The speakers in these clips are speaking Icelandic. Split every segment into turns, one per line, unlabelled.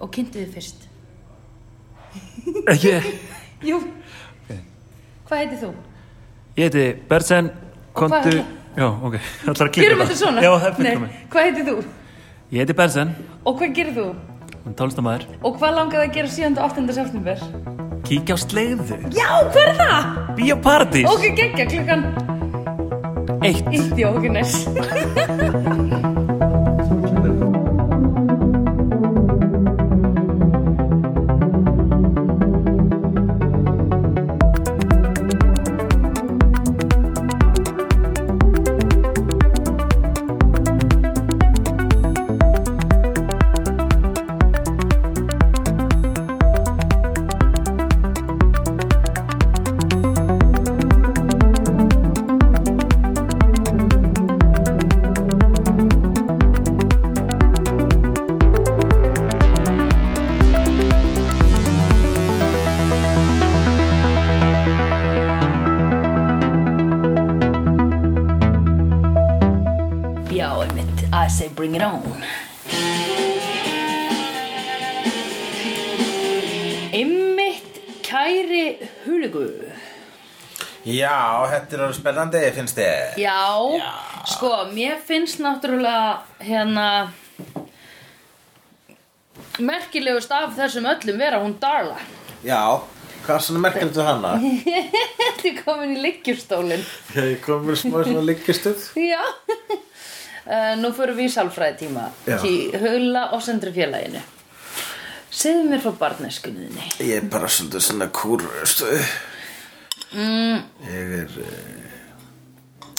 og kynntu þið fyrst.
Ég,
Jú. Hvað heitir þú?
ég heiti Bertsen,
hvað
kontu...
ætla-
Já, ok, það ætlar að klippa
Gerum þetta svona?
Já, það fyrir
Nei,
mig.
Hvað heitir þú?
Ég heiti Bertsen,
Og hvað gerir þú?
tólestamæður,
Og hvað langar það að gera 7. og 8. september?
kíkja á sleiðu,
Já, hvað er það?
bíja paradís,
Ok, geggja klukkan
eitt.
Ítti og okkur næst. Já, einmitt. I say bring it on. Einmitt kæri hulugu.
Já, þetta er alveg spennandi, finnst þið
Já, sko, mér finnst náttúrulega hérna merkilegust af þessum öllum vera hún Darla.
Já, hvað er svona merkjöld við hana?
Þetta er komin í liggjurstólinn.
Ég kom með smá svona líkistuð
Já uh, Nú förum við í sálfræðitíma
Já.
Í hula og sendri félaginu Segðu mér frá barneskunniðinni
Ég er bara svolítið svona kúrstu
Mm.
Ég er eh,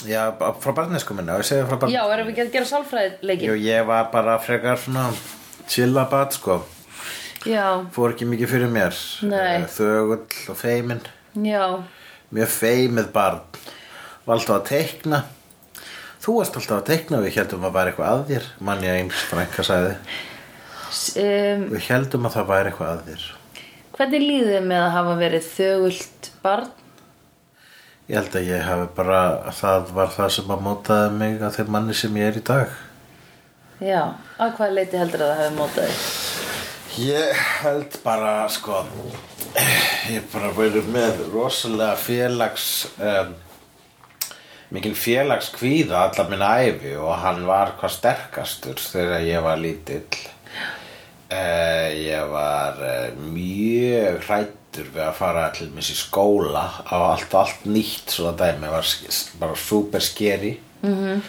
Já, ba- frá barnesku minna, ég segi frá
Já,
barnesku
erum við ekki að gera sálfræðileikin?
Jú, ég var bara frekar svona chillabat, sko
Já,
Fór ekki mikið fyrir mér
Nei.
Eh, Þögull og feimin
já
Mjög feimið barn Var alltaf að teikna Þú varst alltaf að teikna og við heldum að væri eitthvað að þér mann ég eins frænka sagði
S- um,
Við heldum að það væri eitthvað að þér
Hvernig líðið þið með að hafa verið þögult barn?
Ég held að ég hafi bara það var það sem að mótaði mig að þeim manni sem ég er í dag
Já, á hvaða leiti heldur að það hafi mótað þig?
Ég held bara sko ég hef bara verið með rosalega félags um, mikil félags kvíða allar minn æfi og hann var hvað sterkastur þegar ég var lítill uh, ég var uh, mjög hrættur við að fara til mér í skóla á allt, allt nýtt svona dæmi var sk- bara super scary mm -hmm.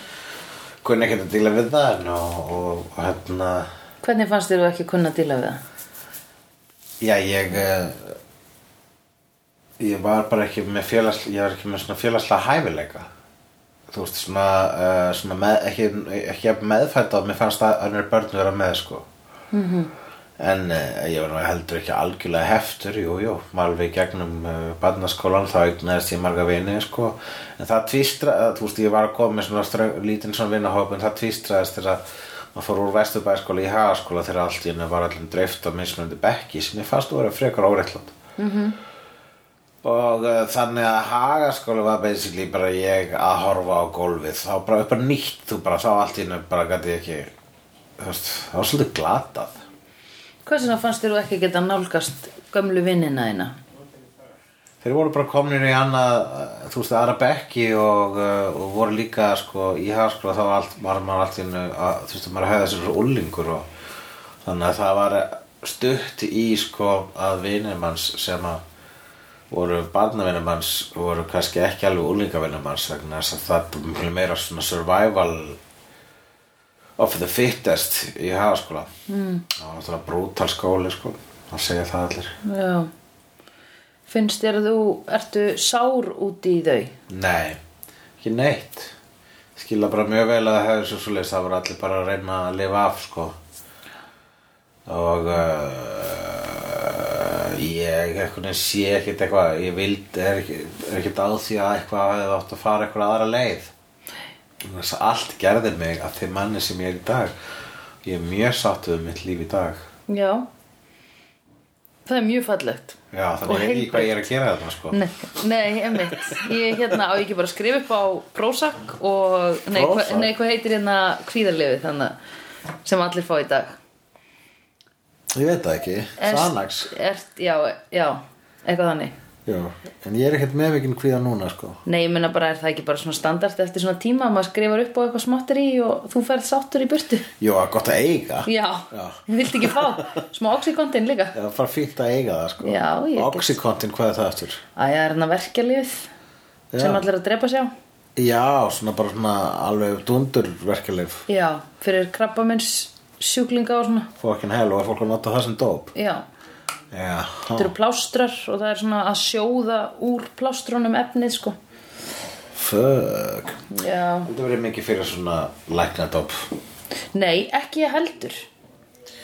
kunni ekkert að díla við það en og, og, og hérna
Hvernig fannst þér þú ekki kunna að díla við það?
Já, ég eh, ég var bara ekki með félags ég var ekki með svona félagslega hæfileika þú veist, svona, uh, svona með, ekki, ekki meðfætt að mér fannst að önnur börn vera með sko -hmm. en uh, ég var nú heldur ekki algjörlega heftur jú, jú, maður við gegnum uh, barnaskólan þá eignaðist ég marga vini sko, en það tvístra eh, þú veist, ég var að koma með svona ströng, lítinn svona vinahóp, en það tvístraðist þegar að maður fór úr vesturbæskóla í hagaskóla þegar allt í henni var allir dreift á mismunandi bekki sem ég fannst að vera frekar óreittlátt og uh, þannig að hagaskóla var basically bara ég að horfa á gólfið þá bara upp að nýtt þú bara sá allt í hennu bara gæti ég ekki þú veist, það var svolítið glatað
Hvers vegna fannst þér þú ekki geta nálgast gömlu vinnina þína?
þeir voru bara komnir í annað uh, þú veist, aðra bekki og, uh, og voru líka sko í hagaskóla þá var allt, var maður allt í hennu að, þú veist, maður hefði sér úlingur og þannig að það var stutt í sko að vinir manns sem að voru barnavinnum hans voru kannski ekki alveg úlingavinnum hans vegna þess að það er miklu meira svona survival of the fittest í hagaskóla mm. það var náttúrulega brútal skóli sko það segja það allir
Já Finnst þér að þú ertu sár út í þau?
nei, ekki neitt skila bara mjög vel að það hefur svo svoleiðis það voru allir bara að reyna að lifa af sko og uh, ég einhvern veginn sé ekkert eitthvað ég vild, er ekki- er ekkert á því að eitthvað hefði átt að fara eitthvað aðra leið þess að allt gerði mig að þeim manni sem ég er í dag ég er mjög sáttu um mitt líf í dag
Já Það er mjög fallegt
já, þannig
Og
ég veit ekki hvað ég er að gera þarna sko
Nei, nei emmitt Ég hérna á ekki bara að skrifa upp á Prozac og Nei, hva,
Prozac?
nei hvað heitir hérna kvíðarlefið þannig að- sem allir fá í dag
ég veit það ekki,
Er-
Sanax
ert, já, já, eitthvað þannig
já. en ég er ekkert með mikinn kvíða núna sko.
Nei, ég meina bara, er það ekki bara svona standart eftir svona tíma að maður skrifar upp á eitthvað smáttir í og þú ferð sáttur í burtu
Jó, það er gott að eiga
Já,
Já.
ég vildi ekki fá smá oxykontin líka
Það er bara fínt að eiga það sko.
Já, ég get-
Oxycontin, hvað er það eftir?
Æ, það er hann að verkja lið
Já.
sem allir að drepa sér á
Já, svona bara svona alveg dundur verkefleif
Já, fyrir krabbamins sjúklinga og svona
Fucking hell, og er fólk að nota það sem dóp
Já,
Já,
þetta eru plástrar og það er svona að sjóða úr plástrunum efnið sko
fuck
Já,
Þetta verið mikið fyrir svona lækna dóp
nei, ekki ég heldur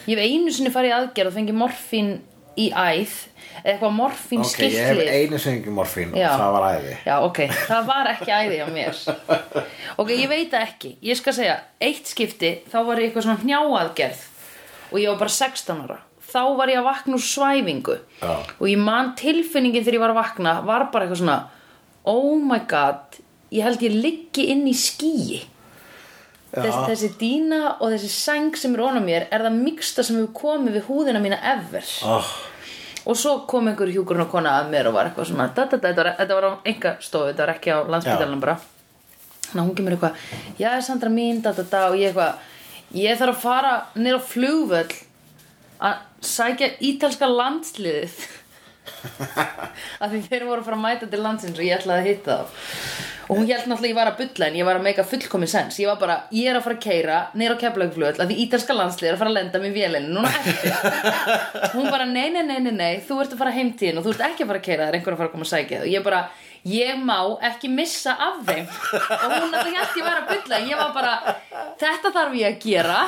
Ég hef einu sinni farið í aðgerð og fengið morfín í æð eða eitthvað morfín
Ok, ég hef einu sengi morfín og það var æði
Já, ok, það var ekki æði á mér Ok, ég veit það ekki Ég skal segja, eitt skipti þá var ég eitthvað svona hnjáaðgerð og ég var bara 16 ára þá var ég að vakna úr svæfingu
Já.
og ég man tilfinningin þegar ég var að vakna var bara eitthvað svona oh my god, ég held ég liggi inn í skýi Þess, þessi dýna og þessi sæng sem er ofan á mér er það miksta sem hefur komið við húðina mína ever
oh,
og svo kom einhver hjúkurinn og kona að mér og var eitthvað svona da, da, da, þetta, var, þetta var á enga stofu, þetta var ekki á landsbytalanum bara þannig að hún kemur eitthvað já, Sandra mín, da, da, da og ég eitthvað ég þarf að fara niður á flugvöll að sækja ítalska landsliðið af því þeir voru að fara að mæta til landsins og ég ætlaði að hitta þá og hún held náttúrulega að ég var að bulla en ég var að meika fullkomi sens ég var bara, ég er að fara að keira niður á keflaugflugöll af því ítalska landslið er að fara að lenda mér vélinn núna eftir hún bara, nei, nei, nei, nei, nei, þú ert að fara heimtíðin og þú ert ekki að fara að keira það er einhver að fara að koma að sækja það og ég bara, ég má ekki missa af þeim og hún náttúrulega held ég var að bulla en ég var bara, þetta þarf ég að gera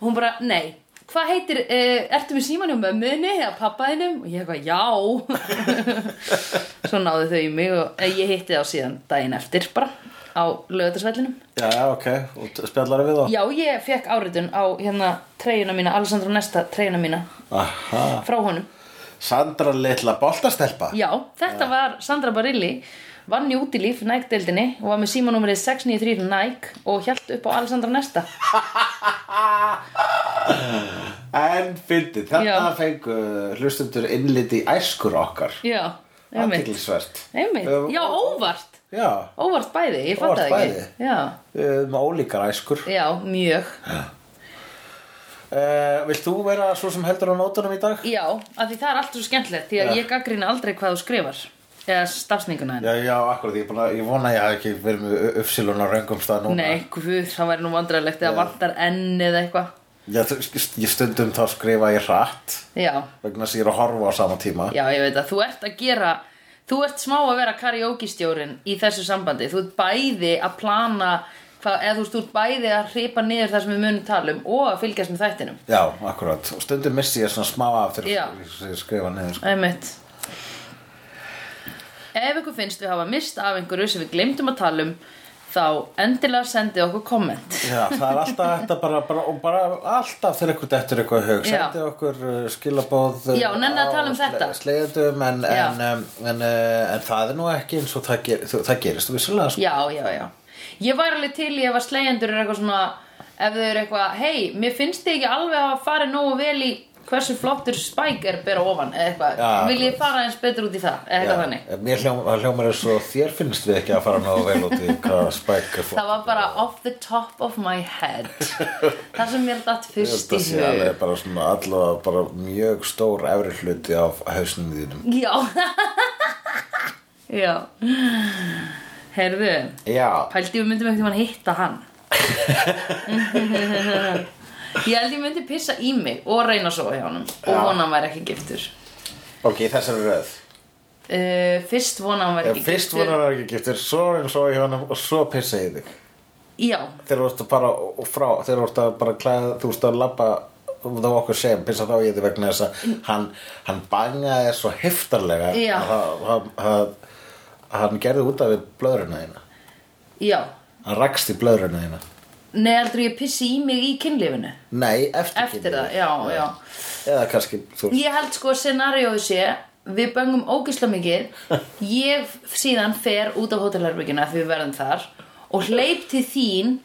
og hún bara, nei hvað heitir, uh, ertu með síman hjá mömmunni eða pappaðinum? og ég eitthvað, já svo náðu þau í mig og eh, ég hitti þá síðan daginn eftir bara á lögatarsvellinum
Já, já, ok, og spjallar við þá
já, ég fekk áritun á hérna treyjuna mína, Alessandro Nesta treyjuna mína
Aha.
frá honum
Sandra litla boltastelpa
já, þetta var Sandra Barilli vann í útilíf Nike-deildinni og var með símanúmerið 693 Nike og hjælt upp á Alessandro Nesta
En fyndið, þetta
Já.
fengu hlustundur innlit í æskur okkar
já, einmitt,
Athyglisvert
einmitt.
Um,
já, óvart
Já,
óvart bæði, ég fatt
Óvart
það ekki já
um, ólíkar æskur
Já, mjög.
uh, Vilt þú vera svo sem heldur á nótunum í dag?
Já, af því það er allt svo skemmtilegt því að ég gaggrina aldrei hvað þú skrifar eða stafsninguna henni.
Já, já, akkurat, ég, er búin að- ég vona að ég hafi ekki verið með uppsilun á raungum stað núna
Nei, guð, það væri nú vandræðilegt eða vantar enn eða eitthvað.
Já, þú- ég stundum þá skrifa ég hratt
Já,
vegna þess að ég er að horfa á sama tíma
já, ég veit að þú ert að gera þú ert smá að vera karaoke-stjórin í þessu sambandi. Þú ert bæði að plana hvað, eða þú veist, þú ert bæði að hripa niður það sem við munum tala um og að fylgjast með þættinum.
Já, akkurat, og stundum missi ég svona smá af þegar
Já.
ég skrifa niður sko.
Æmitt. Ef ykkur finnst við hafa mist af einhverju sem við glemdum að tala um þá endilega sendið okkur komment.
Já, það er alltaf þetta bara, bara, og bara alltaf þegar ykkur dettur eitthvað í hug
Já.
sendi okkur uh, skilabóð
Já, nenni að tala um þetta.
Sleiðum, en,
Já.
en, um, en, uh, en það er nú ekki eins og það, ger, þú- það gerist vissulega sko.
Já, já, já. Ég var alveg til ég var slegjendur er eitthvað svona, ef þau eru eitthvað, hei, mér finnst þið ekki alveg að fara nógu vel í hversu flottur spæk er bera ofan, eða eitthvað,
Já,
vil ég fara eins betur út í það, eða eitthvað þannig.
Já, Mér hljóm, það hljómar eins og þér finnst við ekki að fara náðu vel út í hvað spæk er fólk
Það var bara off the top of my head. það sem mér datt
Ég held
fyrst í
að sé
hug.
alveg bara svona allavega bara mjög stór efri hluti af hausnum þínum
Já. já. Herðu,
Já,
pældi við myndum eitthvað hitta hann. ég held ég myndi pissa í mig og reyna að sofa hjá honum og
Já.
vona hann væri ekki giftur
ok, þessar er röð
uh, fyrst vona hann væri
Ef
ekki
fyrst
giftur
voru hann ekki giftur, svo eins og í honum og svo pissa ég þig
já,
Þegar þú ert bara og frá, þegar þú ert að bara klæða, þú ert að labba þá okkur sem, pissa þá ég þig vegna þess að hann, hann bangaði svo heftarlega
Mm. Já.
að hann- hann- hann- hann gerði út af við blöðruna þína
já
Hann rakst í blöðruna þína
Nei, heldur ég pissi í mig í kynlífinu
Nei, eftir,
Eftir það,
kynlífið.
já, já.
Eða kannski, þú
Ég held sko að scenarióðu sé Við böngum ógisla mikið Ég síðan fer út á hótelherbyggina Því við verðum þar Og hleyp til þín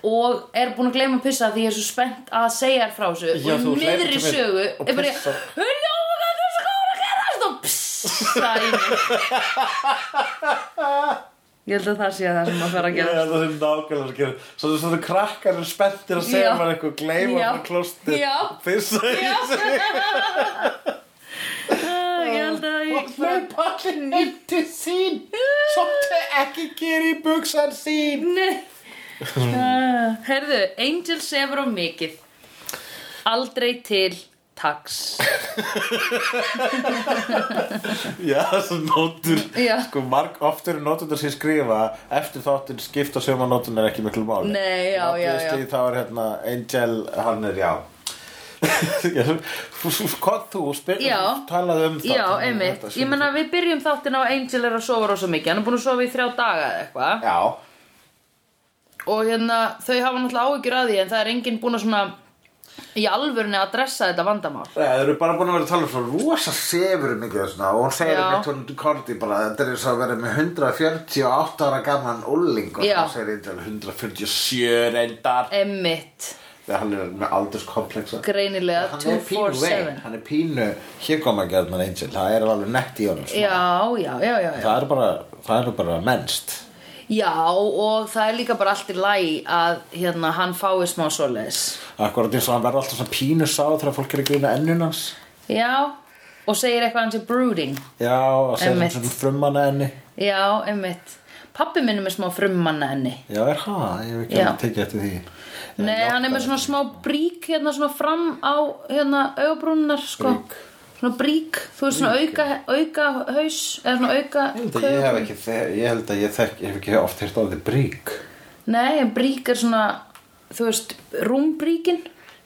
og er búin að gleyma að pissa því ég er svo spennt að segja þér frá þessu
Já,
og
þú
í
hleypur
miðri
til mér
sögu
og
er bara ég
pissar.
Hulli, oh my god, þessi hvað var að gerast og pssa í mig Ég held að það sé það sem að fara að
Ég
gera
held að það er nákvæmlega að gera Svo þess að það krakkar er spenntir að segja
Já.
maður eitthvað Gleima
Já.
frá klósti
Já.
Fissa í
Ég held að ég
Hlaupa allir neitt til sín Samt ekki gera í buksan sín
Nei Ah, Herðu, Angel sefur á mikið Aldrei til Tax
Já, þessar nótur
Já.
Sko, marg oftur nótunar sem ég skrifa Eftir þáttinn skipta söma nótunar ekki miklu máli
Nei, já, já, já.
Því þá er hérna Angel, hann er, já Já, hvað þú spyr,
Já.
talaði um það
Já, einmitt Ég
menna
menna við byrjum þáttin á að Angel er að sofa rosa mikið Hann er búin að sofa í þrjá daga eða eitthvað
Já,
Og hérna, þau hafa náttúrulega áhyggjur að því En það er enginn búin að svona Í alvörni að dressa þetta vandamál
Nei, þeir eru bara búin að vera að tala um svo rosa sefur mikið og svona og hún segir
Já.
um eitt hún Korti bara þetta er eins og að vera með 148 ára gaman ulling og
Já.
það segir eitthvað 147 reyndar
Emmitt,
þegar hann er með aldurskompleksa
greinilega
hann er pínu veik,
247
hann er pínu hér koma að gera mann Angel, það er alveg nett í honum svona.
Já, já, já, já, já
það er bara, það er bara mennst
Já, og það er líka bara allt í lagi Að hérna, hann fái smá svoleiðis
akkurat eins og hann verður alltaf svona pínu sá þegar fólk er að grýna ennun hans
Já, og segir eitthvað hann sé brooding
já, og segir
Einmitt.
hann svona frummana enni
Já, einmitt Pappi minn er með smá frummanna henni
já, er það, ég hef ekki
Já.
alveg tekið eftir því
Nei, hann er með svona smá brík hérna svona fram á hérna augabrúnar sko
Brík.
Svona brík, þú veist svona auka, auka haus eða svona auka
Ég held að
köf
ég hef ekki, þe- ég held að ég þekk, ég hef ekki oft hýrt á því brík.
Nei, en brík er svona, þú veist, rúmbríkin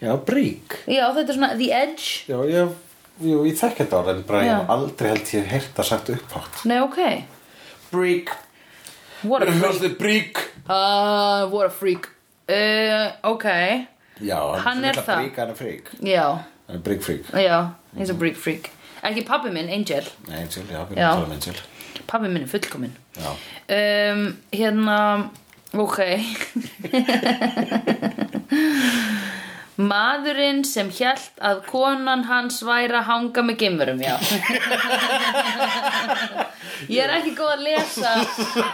Já, brík.
Já, þetta er svona the edge
Já, ég, jú, ég þekk þetta orð, en bara ég hef
Já.
aldrei held ég hef hýrt að sagt upphátt.
Nei, ok
Brík.
What a freak
Hjóðið brík.
uh, What a freak uh, Ok,
Já,
Hann er
líka
það.
Brík, hann er frík.
já,
Hann er brík frík.
já, eins og brík freak Ekki pappi minn, Angel
Nei, Angel, já, við erum
Já.
að tala um Angel.
Pappi minn er fullkominn
Já.
um, Hérna Ok Maðurinn sem hjælt að konan hans væri að hanga með gimmurum, já. Ég er ekki góð að lesa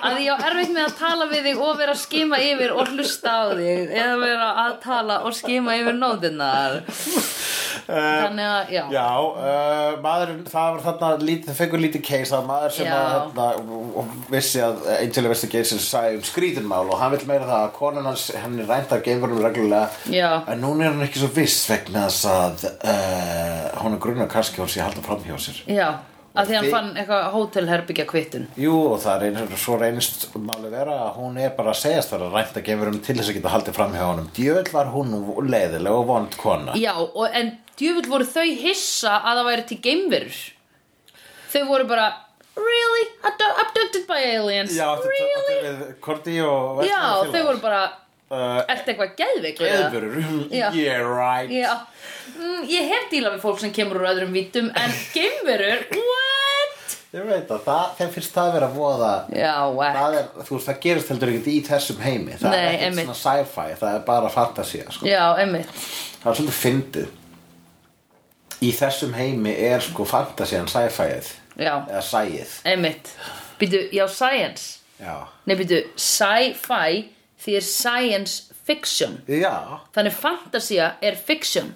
að ég á erfitt með að tala við þig og vera að skima yfir og hlusta á þig eða vera að tala og skima yfir nóðinnar. Þannig að, já.
Já, uh, maðurinn, það var þarna lítið, það fengur lítið case að maður sem
Já.
að þarna, vissi að eh, Angel Investigation sagði um skrítinmál og hann vil meira það að konan hans, hann er rænt af gefurum reglulega
Já.
en núna er hann ekki svo viss vegna þess að uh, hún er grunna kannski að hún sé að halda fram hjá sér
Já, að því hann
Þi-
fann eitthvað hótelherbyggja kvittun.
Jú, og það er eins og svo reynist máli vera að hún er bara að segjast þar að rænta gefurum til þess að geta haldið fram hjá honum Djöðl var hún leiðileg og vond kona
Já, og, en djöfull voru þau hissa að það væri til geimverur Þau voru bara Really? Abdu- Abducted by aliens?
Já, þetta
really?
really? við Korti og
Já,
Vestmannaeyjafélags.
þau voru bara
Uh,
Ertu eitthvað geðveik
Geðvörur,
Já.
yeah right
Já mm, Ég hef dílað við fólk sem kemur úr öðrum vítum En geimverur? What?
Ég veit að það, þeim finnst það að vera voða
Já, eh. whack
það er, þú veist, það gerist heldur ekkert í þessum heimi það
Nei,
er ekkert
einmitt.
svona sci-fi, það er bara fantasía sko.
Já, einmitt
það er svolítið fyndið í þessum heimi er sko fantasían sci-fið
Já,
eða sæið
einmitt Býtu, já, science
já,
Nei, býtu, sci-fi Því er science fiction
já,
Þannig fantasía er fiction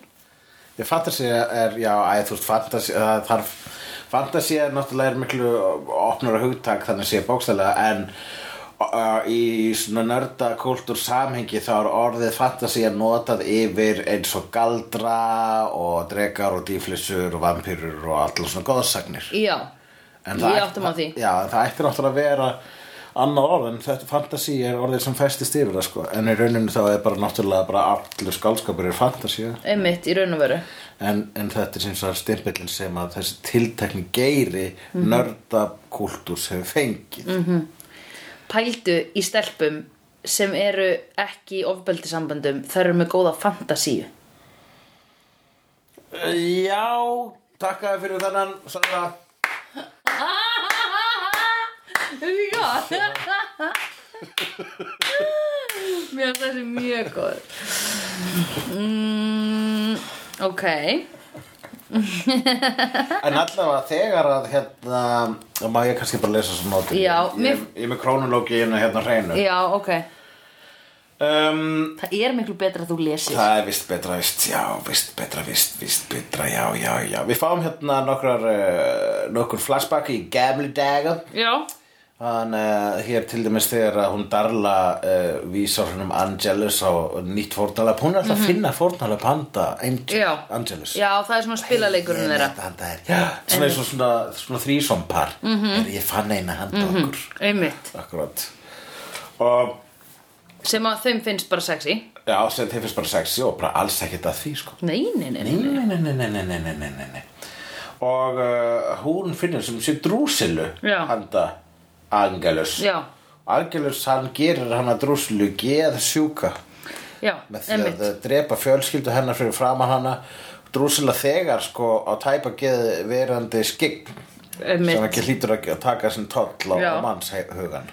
ég fantasía er já, æ, þú veist, fantasía það þarf, fantasía er náttúrulega er miklu opnur og hugtak þannig sé bókstælega en uh, í svona nörda kultúr samhengi þá er orðið fantasía notað yfir eins og galdra og drekar og dýflissur og vampýrur og allir svona góðsagnir
Já, Ég
En það
átta mig á því.
Já, en það ætti náttúrulega að vera annað orð en þetta fantasí er orðið sem festist yfir það sko en í rauninu þá er bara náttúrulega bara allur skálskapur er fantasí en,
einmitt í raun og veru
en þetta er sem svo stimpillin sem að þessi tiltekni geiri mm
Mhm.
-hmm. nördakúltúr sem við fengið mm -hmm.
Pældu í stelpum sem eru ekki í ofbeldisamböndum þær eru með góða fantasíu
Já, takkaði fyrir þennan Sara
Já Mér finnst þessi mjög góð mm, Ok
En allavega þegar að hérna, þá má ég kannski bara lesa svo nóti
Já,
Ég
mér-
er- ég er með krónulóginu hérna hreinu
Já, ok
um,
Það er miklu betra að þú lesir
Það er vist betra, vist, já, vist betra, vist, vist betra, já, já, já Við fáum hérna nokkrar, uh, nokkur flashback í gamli daga
Já
Hann, uh, hér til dæmis þegar að hún Darla uh, vísar hennum Angelus á nýtt fórnalap Hún er alltaf að finna fórnalap handa
Mhm.
Angel,
Já.
Angelus
Já, það er svona spilaleikurinn þeirra
Handa er, já, svona, svona, svona, svona þrísompar mm
Mhm.
-hmm. Ég fann eina handa okkur
Einmitt
Akkurat Og
Sem að þeim finnst bara sexy
já, sem þeir finnst bara sexy og bara alls ekkert að því sko
Nei, nei, nei, nei.
Nei, nei, nei, nei, nei, nei, nei, nei, nei, nei, nei. Og uh, hún finnur sem sé drúsilu
Já.
handa Angelus
Já.
Angelus hann gerir hana drúsilu geð sjúka
Já,
með því
einmitt
að uh, drepa fjölskyldu hennar fyrir framan hana drúsila þegar sko á tæpa geð verandi skikk
Einmitt.
sem ekki hlýtur að að taka sinn toll á,
Já.
á mannshugan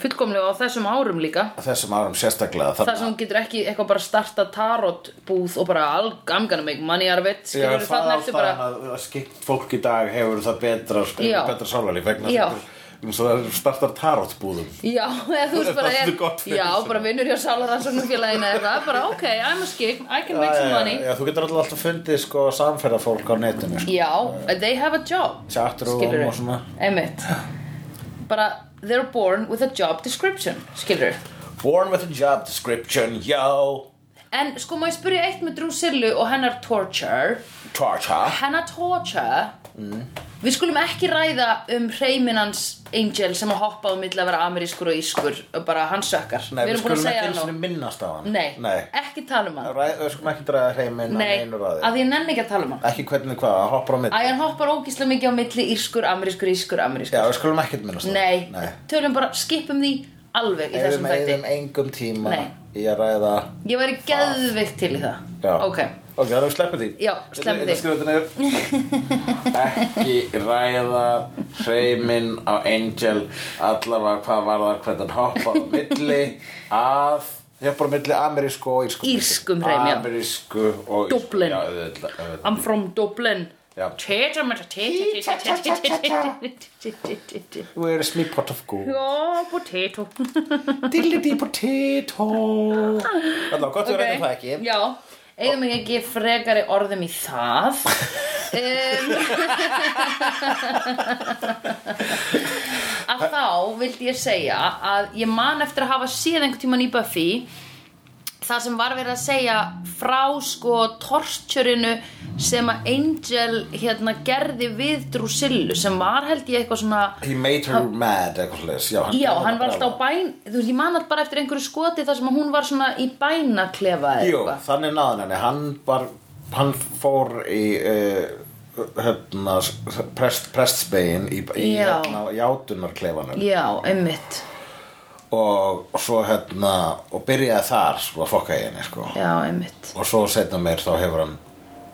Fullkomlega á þessum árum líka
þessum árum sérstaklega
Það sem hún getur ekki eitthvað bara starta tarot búð og bara algamganum ekki manni arveit
Já,
skilur
það
þarna
er
eftir
alltaf
bara
að, að skikkt fólk í dag hefur það betra, sko,
Já.
betra sálarlíf vegna
Já.
þess að um, það startar tarotbúðum.
Já, eða þú veist bara
Það er svolítið gott fyrir
Já,
þessu.
bara vinnur hjá sálarannsóknumfélaginu eða eitthvað bara ok, I'm a skig, I can make some
Já,
money
já, já, þú getur alltaf alltaf fundið sko samferðafólk á netinu sko.
Já, they have a job
Chatroom
skilurðu.
og svona.
Einmitt Bara, they're born with a job description Skilur
Born with a job description, yo
En sko, má ég spyrja eitt með Drusillu og hennar torture
Torture
Hennar torture Við skulum ekki ræða um hreiminans Angel sem að hoppa á milli að vera amerískur og ískur og bara hann sökkar
Nei, við,
erum búin að
skulum
segja
ekki einu
það
sinni
nú.
minnast á hann
Nei,
Nei.
ekki tala um hann
Ræ, Við skulum ekki draga heiminn að
Nei,
einu
að
ráði
ég nenni ekki að tala um hann
Ekki hvernig hvað, hann hoppar á mitt
Æ, hann hoppar ógíslega mikið á milli írskur, amerískur, írskur, amerískur
Já, við skulum ekki minnast á hann
Nei,
Nei.
tölum bara, skipum því alveg í
Eðum,
þessum þætti
eðum engum tíma
Nei.
í að ræða
Ég væri geðvikt til í það
Já.
Ok,
Ok, það er við sleppum því
Já, sleppum því.
Skrifa þetta niður Ekki ræða hreiminn á Angel allavega hvað var það hvernig hann hoppar á milli að hoppar á milli amerísku og írsku
Írskum hreim, já.
Amerísku og írsku
Dublin.
Já, auðvitað, auðvitað.
I'm from Dublin
Já.
Teta, meta, teta, teta, teta, teta, teta.
Where is my pot of gold?
Já, Sko, potato
Diddly-dee potato Allavega, gott
Ok.
við reyndum það ekki
Já, eigum ekki ekki frekari orðum í það um, Að þá vildi ég segja að ég man eftir að hafa séð einhvern tímann í Buffy það sem var verið að segja frá sko torturinu sem að Angel hérna gerði við Drusillu sem var held ég eitthvað svona
He made her mad, eitthvað slags Já, hann,
Já, hann
gerði það
var
bara
alltaf á bæn Þú veist, ég man alltaf bara eftir einhverju skoti þar sem að hún var svona í bænaklefa eða
Jú,
eitthvað
þannig náðan henni hann, var, hann fór í uh, hérna, prest, prestsbegin í, í
Já.
hérna, játunarklefanum
Já, einmitt
og svo hérna og byrjaði þar sko, að fokka í henni sko.
Já, einmitt
og svo setna meir þá hefur hann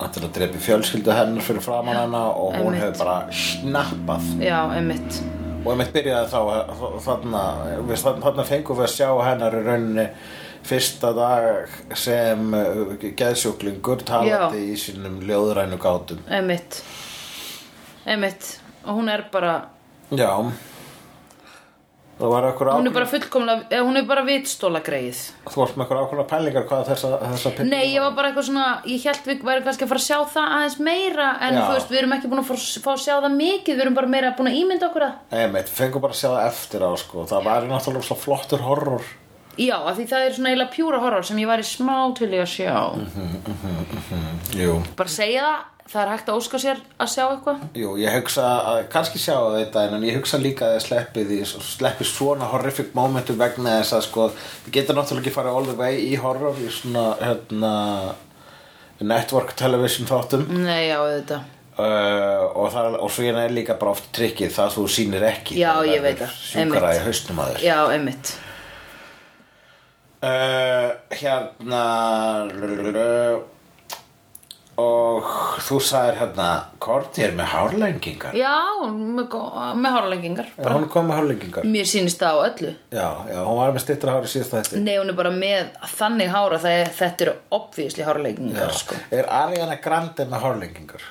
hann til að drepi fjölskyldu hennar fyrir framan hana og hún
einmitt.
hefur bara snappað
Já, einmitt
og einmitt byrjaði þá þarna, við, þarna fengum við að sjá hennar í rauninni fyrsta dag sem uh, geðsjúklingur talandi í sínum ljóðrænu gátum
Einmitt Einmitt Og hún er bara
já það var okkur
Hún er
ákveð
bara fullkomlega eða Hún er bara vitstóla greið
þú varst með okkur ákveðna pælingar hvað þessa, þessa píl-
Nei, ég var bara eitthvað svona Ég held við væri kannski að fara að sjá það aðeins meira En
Já.
þú veist, við erum ekki búin að fá, fá að sjá það mikið Við erum bara meira búin að ímynda okkur það
einmitt, fengum bara að sjá það eftir á sko. það var náttúrulega svo flottur horror
Já, af því það er svona eiginlega pjúra horror sem ég væri smá til í að sjá
Mhm. jú
bara segja það, það er hægt að óska sér að sjá eitthvað
Jú, ég hugsa að kannski sjá þetta en ég hugsa líka að þið sleppið í- sleppið svona horrific momentum vegna þess að sko, þið getur náttúrulega ekki farið all the way í horror í svona hérna, network television þáttum
Nei, já, auðvitað
uh, og, það, og svo hérna er líka bara oft trikkið það sem þú sýnir ekki
Já,
Það
ég
verður
veit það,
sjúkara
einmitt.
í haustum að þér
Já, einmitt
uh, hérna og þú sagðir hérna Korti er með hárlengingar
Já, með, gó- með hárlengingar
Já, hún kom með hárlengingar
Mér sýnist það á öllu
Já, já, hún var með stittra hári síðast að þetta
Nei, hún er bara með þannig hára það er, þetta eru obvíðisli hárlengingar sko.
Er Ariana Grande með hárlengingar?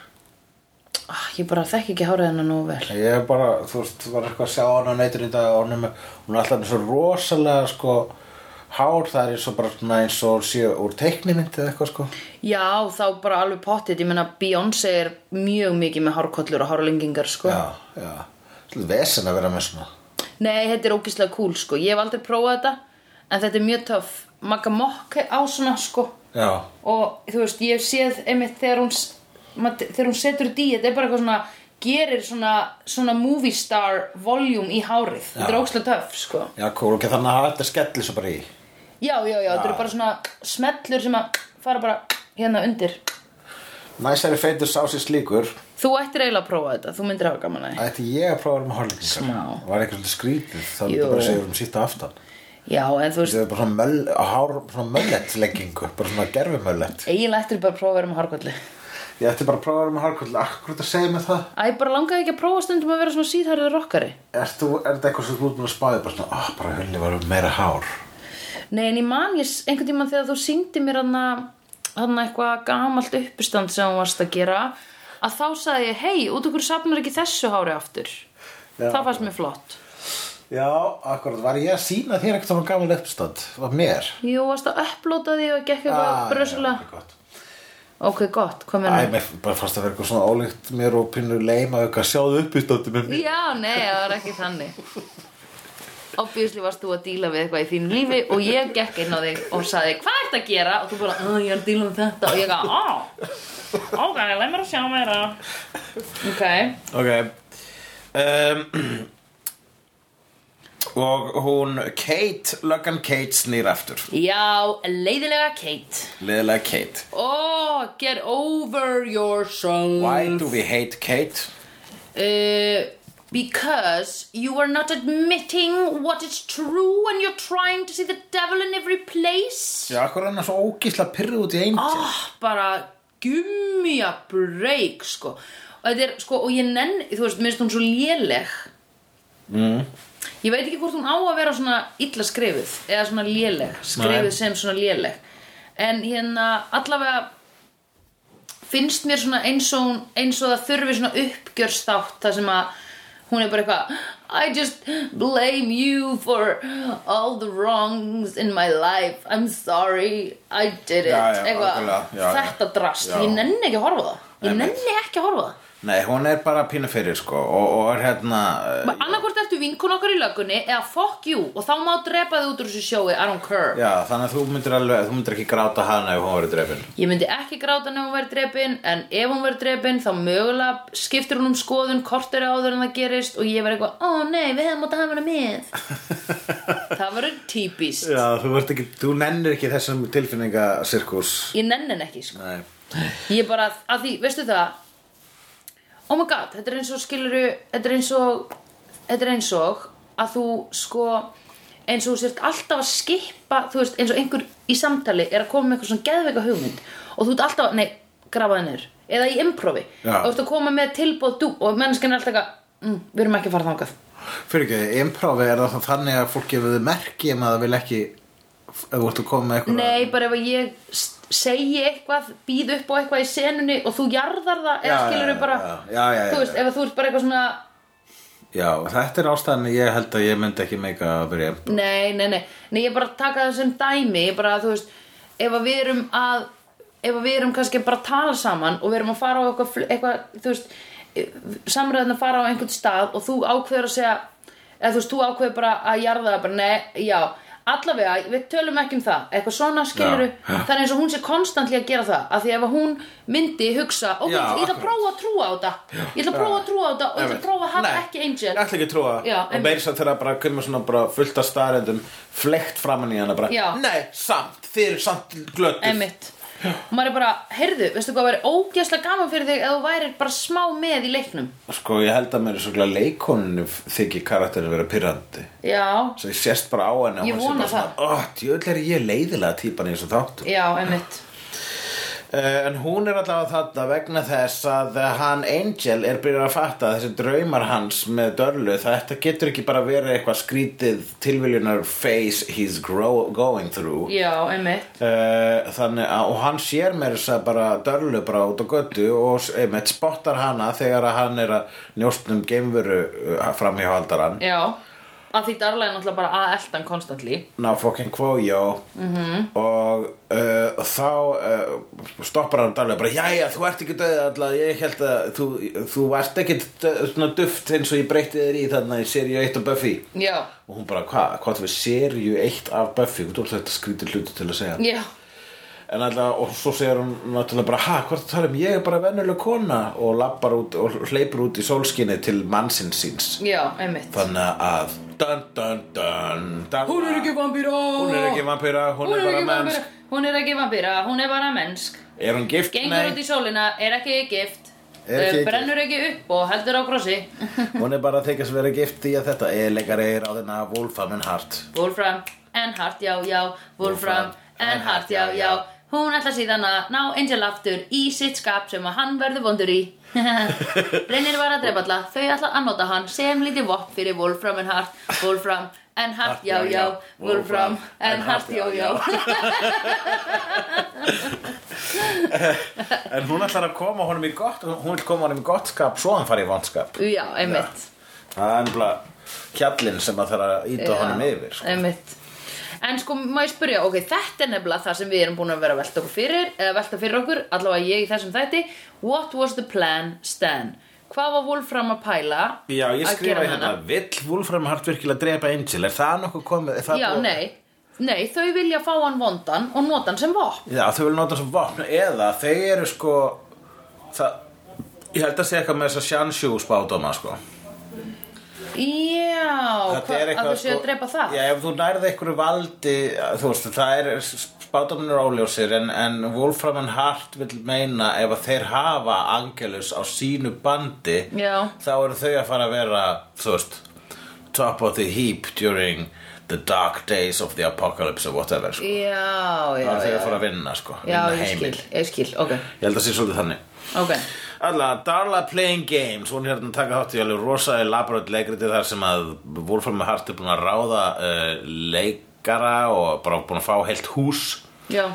ah, Ég bara þekki ekki hárið hennar nógu vel
Ég er bara, þú veist, var eitthvað að sjá hana á neitur í dag og hún er með, hún er alltaf með svo rosalega, sko, hár, það er eins og bara svona eins og hún sé úr teiknimynd eða eitthvað, sko.
Já, þá bara alveg pottit Ég meina, Beyoncé er mjög mikið með hárkollur og hárlengingar sko.
Já, já. Svolítið vesen að vera með svona.
Nei, þetta er ógislega cool sko. Ég hef aldrei prófað þetta En þetta er mjög töff Magga mokk á svona sko.
Já,
Og þú veist, ég hef séð einmitt þegar hún, s- maður- þegar hún setur þetta í Þetta er bara eitthvað svona Gerir svona, svona movie star voljúm í hárið Þetta er
Já.
ógislega töff sko.
já, cool, ok, þannig að hafa þetta skellir svo bara í.
Já, já, já, þetta eru bara svona smellur sem að fara bara hérna undir.
Næsari feitur sá sér slíkur,
Þú ættir eiginlega að prófa þetta, þú myndir hafa gaman að því.
ætti ég að prófa að vera með hárlengingar.
Smá.
Var eitthvað svolítið skrítið, þá
Jú.
myndi bara segja um sítt aftan.
Já, en þú veist,
Þetta er bara svona, möl, hár, svona möllettleggingu, bara svona gerfumöllett.
eiginlega ættir bara að prófa að vera með hárkollu.
Ég ætti bara að prófa að vera með hárkull, akkur þetta segja mig það?
Æ, bara langaði ekki að prófa stundum að vera svona síðhærður rockari.
Er, þú, er þetta eitthvað sem þú ert búin að spáði bara svona, ah, bara hulli var meira hár
Nei, en ég man ég s- einhvern tímann þegar þú syngdi mér hann að eitthvað gamalt uppistand sem hún varst að gera að þá sagði ég, hei, út okkur safnar ekki þessu hári aftur.
Já.
Það fannst mér flott.
Já, akkurat, var ég að sína þér eitthvað svona gamal uppstand, var mér
Jú, varst að upplóta því og gekk
Ah,
eitthvað brösulega.
Æ,
Ok, gott, hvað meina?
mér bara fannst að vera eitthvað svona ólíkt mér og pínu leima eitthvað sjáðu uppstandi með mér
Já, nei, það var ekki þannig Obviously varst þú að díla við eitthvað í þínu lífi og ég gekk inn á þig og saði hvað ert að gera og þú bara, að ég er að díla um þetta og ég gaf, á, ok, leið mér að sjá meira Ok,
Ok um, Og hún, Kate, löggan Kate snýr aftur
já, leiðilega Kate
Leðilega Kate
Oh, get over yourself
Why do we hate Kate?
Uh, because you are not admitting what is true and you're trying to see the devil in every place
Já, akkur er hann svo ógísla pyrrð út í einu
ah, bara gumja breyk sko. og þetta er sko og ég nenn, þú veist, minnst hún svo léleg mm. ég veit ekki hvort hún á að vera svona illa skrifuð eða svona léleg, skrifuð
Nei.
sem svona léleg en hérna allavega finnst mér svona eins og, hún- eins og það þurfi svona uppgjörstátt það sem að hún er bara eitthvað I just blame you for all the wrongs in my life I'm sorry, I did it
Já, já,
Eitthvað,
algjörlega, já, já.
þetta drast,
Já.
ég nenni ekki að horfa á það ég
Einmitt.
nenni ekki að horfa á það
Nei, hún er bara pínu fyrir sko og, og er hérna eh,
annarkvort ertu vinkun okkar í lögunni eða fuck you og þá má drepa þið út úr þessu sjói I don't care
Já, þannig að þú myndir alveg, þú myndir ekki gráta hana ef hún verið drefin
Ég myndi ekki gráta nefn hún verið drepin en ef hún verið drepin þá mögulega skiptir hún um skoðun kortir áður en það gerist og ég verið eitthvað, ó nei, við hefum átt að hafa hana með Það verður típist
Já, þú verður ekki, þú nennir ekki þessum tilfinningasirkus
Ég nenni henn ekki, sko
Nei
Ég bara, að því, veistu það Oh my god, þetta er eins og skiluru Þetta er eins og Þetta er eins og að þú sko eins og þú sért alltaf að skipa þú veist, eins og einhver í samtali er að koma með eitthvað svona geðveika hugmynd og þú ert alltaf, að, nei, grafa þennir eða í improvi,
Já.
og ert að koma með tilbóð dú, og menneskan er alltaf eitthvað, mm, við erum ekki að fara þangað
Fyrir ekki, improvi er það þannig að fólk gefur þið merki um að það vil ekki ef þú ert að koma með eitthvað
Nei, bara ef að ég s- segi eitthvað, býð upp á eitthvað í senunni og þú jarðar það, eða
Já,
skilur
já,
bara
já, já, já, já,
þú veist,
já.
ef að þú ert bara eitthvað svona
Já, þetta er ástæðan ég held að ég myndi ekki meika að byrja
Nei, nei, nei, nei, ég bara taka það sem dæmi, ég bara, þú veist, ef að við erum að, ef að við erum kannski bara að tala saman og við erum að fara á eitthvað, fl- eitthvað þú veist, samræðan að fara á einhvern stað og þú ákveður að segja, eða þú veist, þú ákveður bara að jarða það, bara, nei, já, allavega, við tölum ekki um það, eitthvað svona skiluru,
Já, já.
það er eins og hún sé konstantli að gera það, af því ef að hún myndi hugsa, ok,
Já,
ég ætla að
akkurat.
prófa að trúa á þetta, ég ætla að prófa að trúa á þetta og ég ætla að prófa að hafa ekki Angel.
Ég ætla ekki að trúa
Já,
og
einmitt.
beins að þeirra bara kemur svona bara fullt af starendum flekt framan í hana bara
Já.
Nei, samt, þið eru samt glötuð
Einmitt Og maður er bara, heyrðu, veistu hvað væri ógeðslega gaman fyrir þig ef þú værir bara smá með í leiknum
Sko, ég held að mér er svolítið leikoninni þykir karakterið vera pyrrandi
Já,
Svo ég sést bara á henni
Ég vona
Ó, djöðlega er ég leiðilega típan í þessu þáttu
já, einmitt
Eh, En hún er allavega þarna vegna þess að hann Angel er byrjað að fatta að þessi draumar hans með Dörlu þetta getur ekki bara verið eitthvað skrítið tilviljunar phase he's grow, going through
Já, einmitt
Eh, þannig að og hann sér mér þess að bara dörlu bara út á götu og s- einmitt spottar hana þegar að hann er að njóstnum geimveru uh, framhjáhaldaran
Já, að því Darla er náttúrulega bara að eldan konstantli
ná fucking kvójó -hmm.
Mhm.
og uh, þá uh, stoppar hann dörlu bara jæja þú ert ekki döð alltaf ég held að þú, þú ert ekki döð, svona duft eins og ég breytti þér í þarna í seríu 1 og Buffy
Já,
og hún bara hvað, hvað við seríu 1 af Buffy þú ert þetta skrítið hluti til að segja
já,
En alltaf, og svo segir hún náttúrulega bara, ha, hvort það tala um, ég er bara venjuleg kona og lappar út og hleypur út í sólskinni til mannsinn síns.
já, einmitt
Þannig að, dun, dun, dun, dun,
Hún er ekki vampíra
hún er ekki vampíra, hún, er bara
vampíra
mennsk.
Hún er ekki vampíra, hún er bara mennsk
Er hún gift?
Gengur út í
Nei,
sólina, er ekki gift
Er ekki
eh,
gift.
Brennur ekki upp og heldur á krossi
hún er bara að þykja sem vera gift í að þetta er leikari ráðina Wolfram and Hart.
Wolfram and Hart, já, já Wolfram and Hart, já, já Hún ætla síðan að ná Angel aftur í sitt skap sem að hann verður vondur í Reynir var að drepa alla Þau ætla að nota hann sem lítið vopp fyrir Wolfram and Hart Wolfram and Hart, já, já Wolfram and Hart, já, já
En hún ætlar að koma honum í gott, hún vil koma honum í gott skap svo hann fari í vondskap.
Já, einmitt
Það er nefnilega hjallinn sem að það er að
Já,
íta honum yfir, sko.
einmitt En sko, má ég spyrja, ok, þetta er nefnilega það sem við erum búin að vera að velta okkur fyrir eða velta fyrir okkur, allavega ég í þessum þætti What was the plan, Stan? Hvað var Wolfram að pæla
Já, ég
að
skrifa
gera
hérna, vill Wolfram Hart virkilega drepa Angel, er það nokkuð komið? er Það
Já,
búið-
nei, nei, þau vilja fá hann vondan og nota hann sem vopn
Já, þau vil nota sem vopn, eða þau eru sko, það, ég held að segja eitthvað með þess að Shanshu spádóma, sko.
Já,
Þetta
hva,
er sko-
að þau séu að drepa það
Já, ef þú nærði einhverju valdi, þú veist, það er, spádómin er óljósir, en, en Wolfram and Hart vil meina ef að þeir hafa Angelus á sínu bandi,
Já.
þá eru þau að fara að vera, þú veist, top of the heap during the dark days of the apocalypse or whatever, sko.
Já, já,
Það er
já
þegar að fara að vinna sko
Já,
vinna
ég skil,
heimil.
ég skil, ok,
Ég held að sé svolítið þannig
ok
Alla, Darla Playing Games Hún er hérna að taka þátt í alveg rosa elaborate leikriti þar sem að Wolfram og Hart er búin að ráða uh, leikara og bara búin að fá heilt hús
Já,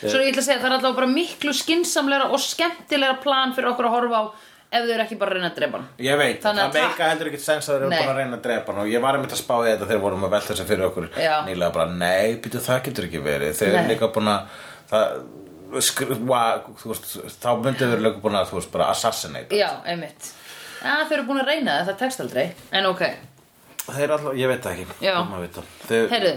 svo ég ætla að segja það er allavega bara miklu skinsamlega og skemmtilega plan fyrir okkur að horfa á ef þau eru ekki bara að reyna að drepa hann
Ég veit,
Þannig að
það
takk.
meika heldur ekkert sens að þeir eru
Nei.
búin að reyna að drepa hann og ég var einmitt að spá í þetta þegar við vorum að velta þessu fyrir okkur
Já.
nýlega bara, nei, býtu það getur ekki verið þeir eru
Nei.
líka búin að það, skr, va, þú veist, þá myndið við líka búin að, þú veist, bara assassinate
Já, einmitt Já, þau eru búin að reyna það, það tekst aldrei En ok,
Þeir alltaf, ég veit það ekki
Já.
Má vita. Þeir,
Heyrðu.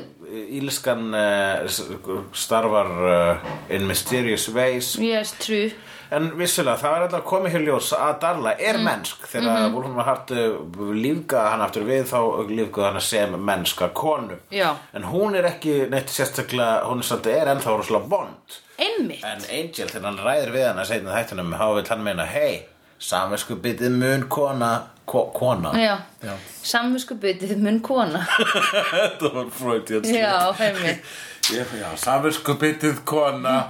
Ílskan uh, starfar uh, in mysterious ways
yes, true
En vissulega, það er alltaf komið hér ljós að Darla er mennsk Þegar mm -hmm.
Mhm.
Wolfram og Hart uh, lífgaði hann aftur við þá lífgaði hann sem mennska konu
Já.
En hún er ekki neitt sérstaklega hún er samt er ennþá rosalega vond
Einmitt
En Angel, þegar hann ræðir við hann að segna þættunum þá vill hann meina, hei, samvisku bitið mun kona ko, kona
Já, Já. samvisku byttið mun kona
Þetta var Freudian slip.
Já, einmitt
Ég, já, samvinsku bitið kona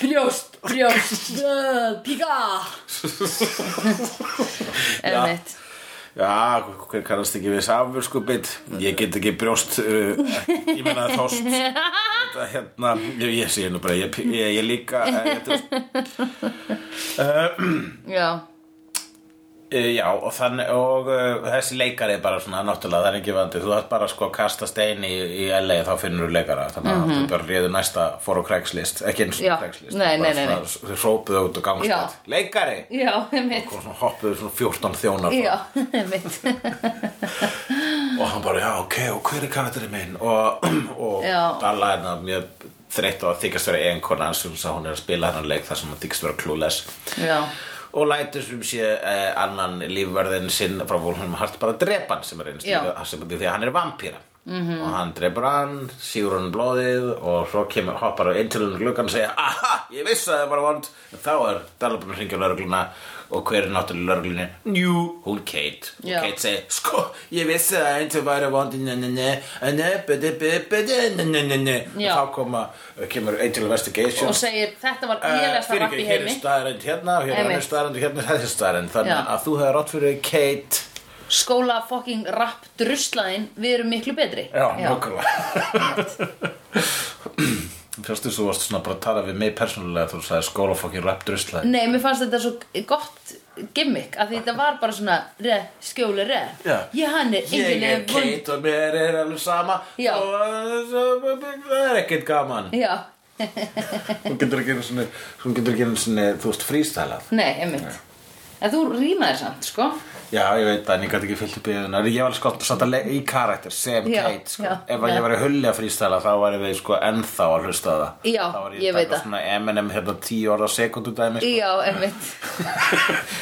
Brjóst, brjóst, uh, píka Einmitt
Já, hver kannast ekki við samvinsku bit Ég get ekki brjóst uh, Ég meina þóst Þetta hérna, ég, ég sé nú bara Ég, ég, ég líka eh, þetta,
Já,
uh, Já, og, þann, og uh, þessi leikari er bara svona Náttúrulega, það er ekki vandi Þú þarft bara sko að kasta stein í, í LA Þá finnur þú leikara Þannig að þú bara réðu næsta fór á Craigslist Ekki eins
Mhm. Já,
og Craigslist
nei,
bara
nei, nei, nei.
svona, Þau hrópuðu út og
Já.
gangstætt Leikari!
já, einmitt
Og svona hoppuðu svona 14 þjónar frá.
Já, einmitt
og hann bara, já, ok, og hver er karakterinn minn og, og
Já.
Dalla er það mjög þreytt á að þykast vera einkona hans og hún er að spila hennar leik þar sem hann þykast vera klúles
Já,
og lætur sem sé eh, annan lífverðin sinn frá Wolfram Hart bara að drepa hann sem er einst
Já. Mhm.
sem, því að hann er vampíra -hmm. og hann dreipur hann, sígur hann um blóðið og svo kemur, hoppar á eintöluðin gluggan og segja, aha, ég vissi að það var vond en þá er Dalabun að ringja lörgluna og hver er náttúrulega lörglunni? Njú, hún Kate og
Já.
Kate segir, sko, ég vissi að eintöluð væri vond ne, ne, ne, ne, bidi, bidi, bidi, ne, ne, ne, ne
Já.
og þá koma, kemur eintöluð investigation
og segir þetta var
Eh,
lélegasta
fyrir
rapp
ekki,
í
hér er
heimi
staðarind hérna og hér er
Einmitt.
önnur staðarind og hérna er þessi staðarind þannig
Já.
að þú hefur rátt fyrir Kate
skóla fucking rapp druslaðin við erum miklu betri
Já, nokkulega Fyrstu þú varst svona bara að tala við mig persónulega þú sagði skóla fokkin rap drusla
Nei, mér fannst þetta svo gott gimmick að því þetta var bara svona re, skjóli re
Já.
ég hann er
Ég er
einhvern veginn
Kate og mér er alveg sama
Já.
og það er ekkert gaman
Já,
Þú getur ekki einu sinni, þú getur ekki einu sinni, þú veist, frístælað
nei, einmitt En þú rýmaðir samt, sko
Já, ég veit það, en ég gæti ekki fyllt upp í það Ég var sko satt að leika í karakter sem
Já,
Kate, sko
já,
Ef að
já.
ég var í hulja frístæla þá var ég sko ennþá að hlusta á það
Já,
Þá var
ég
að
veit
taka
það.
svona Eminem hérna tíu orða sekundu dæmi sko.
Já, einmitt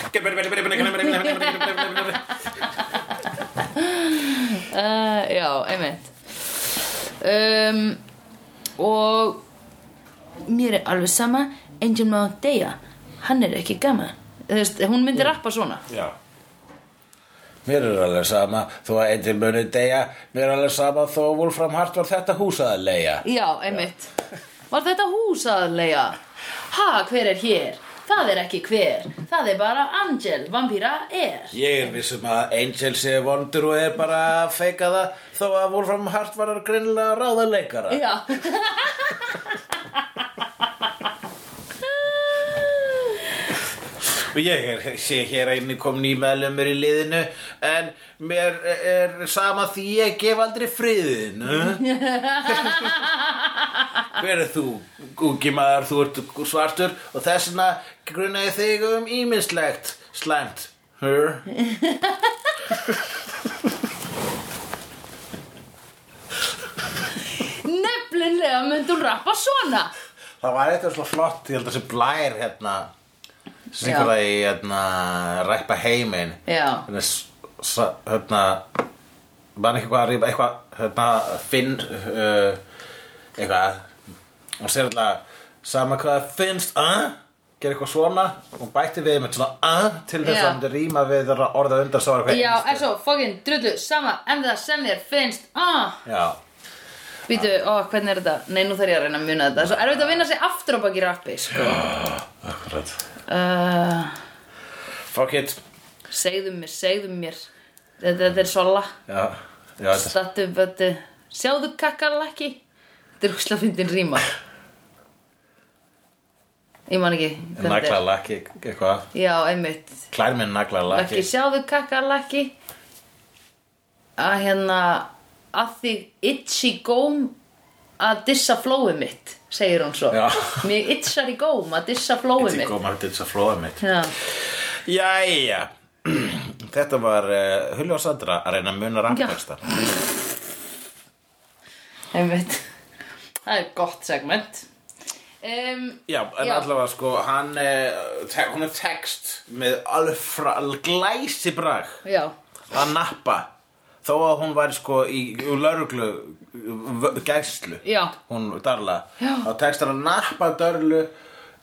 uh, Já, einmitt um, Og mér er alveg sama Angel Mount Deja hann er ekki gaman Þú veist, hún myndi rappa svona
Já Mér er alveg sama þó að einnig muni deyja Mér er alveg sama þó að Wolfram Hart var þetta hús að leia
Já, einmitt Var þetta hús aðlega? Ha, hver er hér? Það er ekki hver Það er bara Angel, vampíra er
Ég er vissum að Angel sé vondur og er bara að feika það þó að Wolfram Hart var grinnlega ráða leikara
Já
Og ég er, sé hér einu komin í meðlumur í liðinu en mér er sama því ég gef aldrei friðin eh? Hver er þú, ungi maður, þú ert svartur og þess vegna grunna ég þig um ímislegt slæmt Her
Nefnilega myndi hún rappa svona
Það var eitthvað svona flott, ég held að þessi blær hérna syngur
Já.
það í hérna ræpa heiminn
Já.
Hérna, s- sa- hérna mann ekki hvað að rýpa eitthvað hérna finn uh, eitthvað og sér alltaf sama hvað það finnst uh, gera eitthvað svona og bætti við með svona uh, til þess
Já.
að hann myndi rýma við þeirra orða undan svo var eitthvað
Já,
einstakt.
en svo, fokkin, drullu, sama En það sem þér finnst ah.
Já,
Býtu, ó, hvernig er þetta? Nei, nú þarf ég að reyna að muna þetta Svo erfitt að vinna sig aftur á baki rappi sko.
akkurat
uh,
Fuck it
Segðu mér, segðu mér Þetta, þetta er svo la
Já, já þetta
Stattu vöttu Sjáðu kakalaki Þetta er húsla fyndin ríma Ég man ekki hvernig þetta
nagla
er.
lakki eitthvað
Já, einmitt
Klær minn nagla
Laki,
lakki
sjáðu kakalaki Að hérna Að því itchi góm Að dissa flóið mitt Segir hún svo
Já.
Mér itchar í góm að dissa flóið
Ég
mitt
kom að til þess að flóða mitt
Já,
Jæja Þetta var uh, Hulja og Sandra að reyna að muna rafnvexta
einmitt Það er gott segment um,
Já, en allavega sko hann, uh, te hún er text með alveg fra- alveg glæsibrag
Já,
að nappa þó að hún væri sko í, í lauruglu v- gæslu
Já.
hún darla
Já.
þá tekstar að nappa dörlu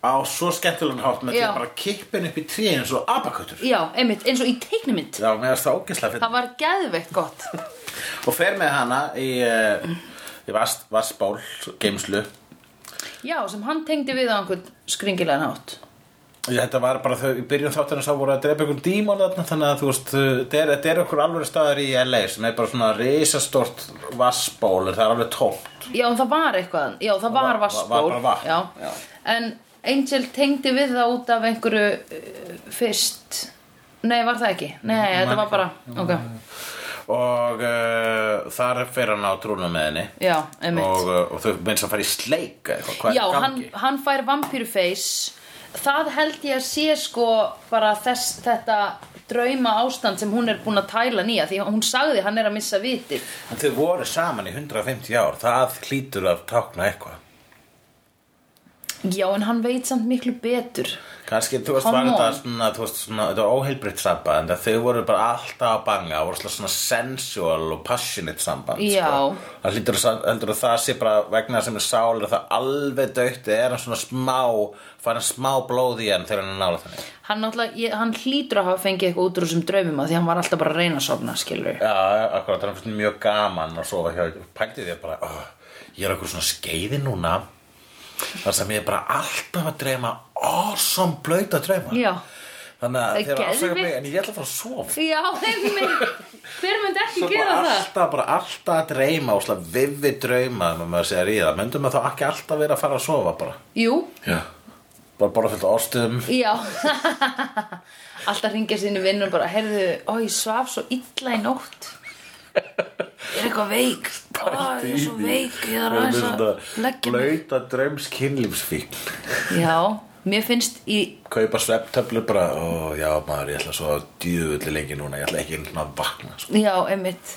á svo skemmtulegan hátt með því
Já.
að bara kippin upp í tríin eins og abakötur
já, einmitt, eins og í teiknumynd
Já, mér varst það ógislega fyrir
Það var geðveikt gott
og fer með hana í, uh, í vast, vastból geimslu
Já, sem hann tengdi við á einhvern skringilegan hátt
þetta var bara þau, í byrjun þáttan þá voru að drepa ykkur dímon þarna þannig að þú veist, uh, þetta er- þetta er ykkur alveg staðar í LA sem er bara svona risastort vastból en það er alveg tómt
Já, en það var eitthvað Já, það var
var-
vassból
var bara vatn,
já.
já.
En Angel tengdi við það út af einhverju uh, fyrst Nei, var það ekki? Nei, þetta var bara Ok,
og uh, þar fer hann á trúna með henni
já, einmitt
og, uh, og þau minnst að fara í sleika eitthvað, hvað
Já,
er í
hann,
gangi?
hann fær vampýruface Það held ég að sé sko bara þess, þetta drauma ástand sem hún er búin að tæla nýja því hún sagði hann er að missa vitið
En þau voru saman í 150 ár það hlýtur að tákna eitthvað
Já, en hann veit samt miklu betur
Kanski, þú veist,
Come
var þetta
on.
svona, þú veist, svona, þetta var óheilbritt samband en þau voru bara alltaf að banga voru svona, svona sensual og passionate samband
Já.
sko. Það hlýtur að heldur að það sé bara vegna þess sem er sálir það alveg dautt er hann svona smá farin smá blóð í hann þegar hann er nála þannig
Hann, náttúrulega- ég, hann hlýtur að hafa fengið eitthvað út úr þessum draumum að því hann var alltaf bara að reyna að sofna skilur
Já, akkurat, það er fyrir mjög gaman að sofa hjá Pældi þér bara, oh, ég er okkur svona skeiði núna þar sem ég er bara alltaf að dreyma awesome blöta drauma
Já,
Þannig að
Það er
þeir eru að afsaka
geðveikt.
mig en ég ætla að fara að sofa
já, einmitt Hver myndi ekki
Svo
gera
bara
það?
alltaf, bara alltaf að dreyma og slá vivi drauma um að maður segir í það myndum við þá ekki alltaf vera að fara að sofa bara
Jú,
já. bara bara fullt af ástum
já Alltaf hringja sinni vinnur bara Heyrðu, ó, ég svaf svo illa í nótt Ég er eitthvað veik Ó, ég er svo veik Ég er aðeins að leggja mig
blöyta draums kynlífsfík
Já, mér finnst í
kaupa svepptöflu bara og já maður ég ætla að sofa djúvulli lengi núna ég ætla ekki einu sinni að vakna sko.
Já, einmitt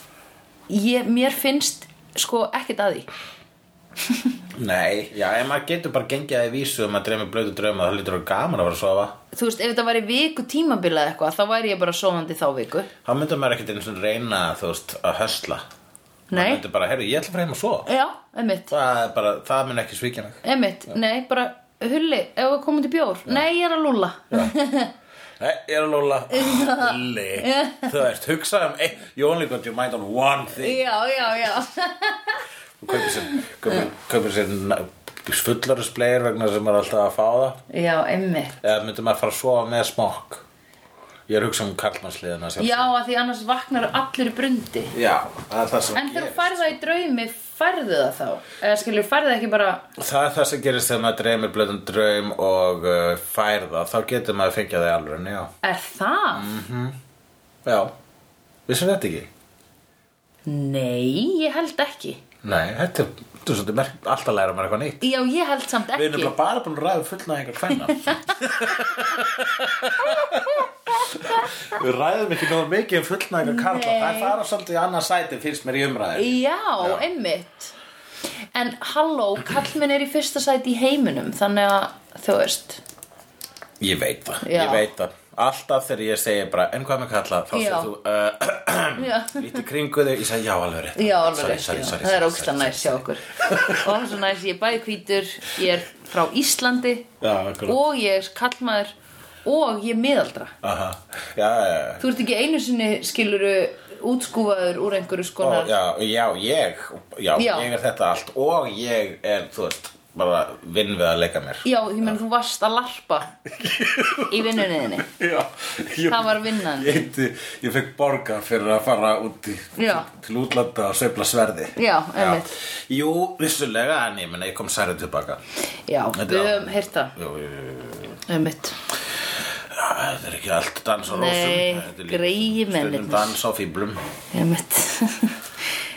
ég, Mér finnst sko ekkert að því
nei, já ef maður getur bara gengið að í vísu og maður dreymi blöyta drauma þá lítur það gaman að vera að sofa
Þú veist, ef þetta væri viku tímabilað eitthvað þá væri ég bara sofandi þá viku
þá myndum maður ekkert einu sinni reyna þú veist að hösla maður
Nei,
myndum bara, herru, ég ætla að fara heim að sofa
já, einmitt
það, er bara, það mun ekki svíkja mig
Einmitt, nei, bara Hulli, ef við komum til bjór Nei, ég er að lúlla
Nei, ég er að lóla Lulli, þú veist, hugsaðu um ein, You only got your mind on one thing
Já, já, já
Þú kaupir sér, kaupir, kaupir sér fullarusbleir vegna sem er alltaf að fá það
Já, einmitt
Eða myndi maður fara að sofa með smokk Ég er að hugsa um karlmannsliðina sjálf
Já, að því annars vaknar allir í brundi
Já, það er það sem
En þegar þú
gerist.
færðu það í draumi færðu það þá Eða skilur, færðu það ekki bara
Það er það sem gerist þegar maður dreymir blöðum draum og uh, fær það Þá getur maður að fengja það í alveg, já
Er það?
Mm. Já, vissum þetta ekki?
Nei, ég held ekki
Nei, þetta er, þetta er svolítið merkt Alltaf læra maður eitthvað nýtt
Já, ég held samt
Við
ekki
erum nefnilega bara búin að ræða fullnæðingar kvenna Við ræðum ekki náður mikið um fullnæðingar karla
Nei.
Það er fara svolítið í annað sæti fyrst mér í umræði
Já, einmitt En halló, kallminn er í fyrsta sæti í heiminum Þannig að þú veist
Ég veit það,
Já.
ég veit það Alltaf þegar ég segi bara, en hvað með kalla Þá
Já.
segir þú, uh,
Já,
lítið kringu þau Ég segi, já, alveg rétt
já alveg
Sorry,
rétt,
sorry,
já.
sorry,
Það er
sorry,
ógsta
sorry,
næs hjá
sorry.
okkur Og það er svo næs, ég er bæði hvítur Ég er frá Íslandi
Já, akkurat.
Og ég er kallmaður Og ég er miðaldra
Aha. Já, já, já
Þú ert ekki einu sinni skiluru útskúfaður úr einhverju skonar
Ó, já, já, ég já,
Já.
ég er þetta allt og ég er, þú veist, bara vinn við að leika mér
Já, ég menn þú varst að larpa í vinnunniðinni
já, ég,
Það var vinnan.
ég, heiti, ég fekk borga fyrir að fara út í,
Já.
til útlanda og sveifla sverði
Já, einmitt.
jú, vissulega, en ég menna ég kom særið tilbaka
Já,
Þetta-
við höfum heyrt það
jú, jú, jú, jú.
Einmitt.
Já, Ah, þetta er ekki allt dans á rósum
Nei,
Þetta er líka
greiði
stundum
mennirnir.
dans á fýblum
Einmitt.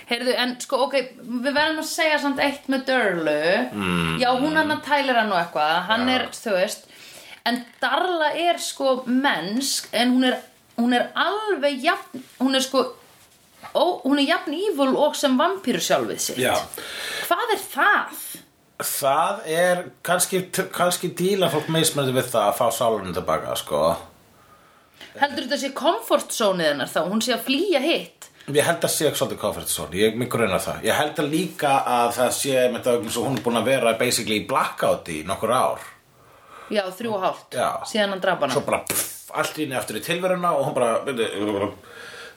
Heyrðu, en sko, ok, við verðum að segja samt eitt með Dörlu. Mm. Já, hún hann að tælir hann og eitthvað, hann er, þú veist, en Darla er sko mennsk, en hún er, hún er alveg jafn, hún er sko, ó, hún er jafn ívul og sem vampíru sjálfið sitt.
Já.
Hvað er það?
Það er kannski, kannski díla fólk meismöndi við það að fá sálunum tilbaka, sko
Heldur þetta sé comfort zone hennar þá, hún sé að flýja hitt.
Ég held að sé ekki svolítið comfort zone, ég mig grunar það. Ég held að líka að það sé með það vegna svo hún er búin að vera basically í blackout í nokkur ár.
Já, þrjú og hálft,
Já.
síðan hann drapa hana.
Svo bara pff, allt í henni aftur í tilveruna og hún bara, veitu,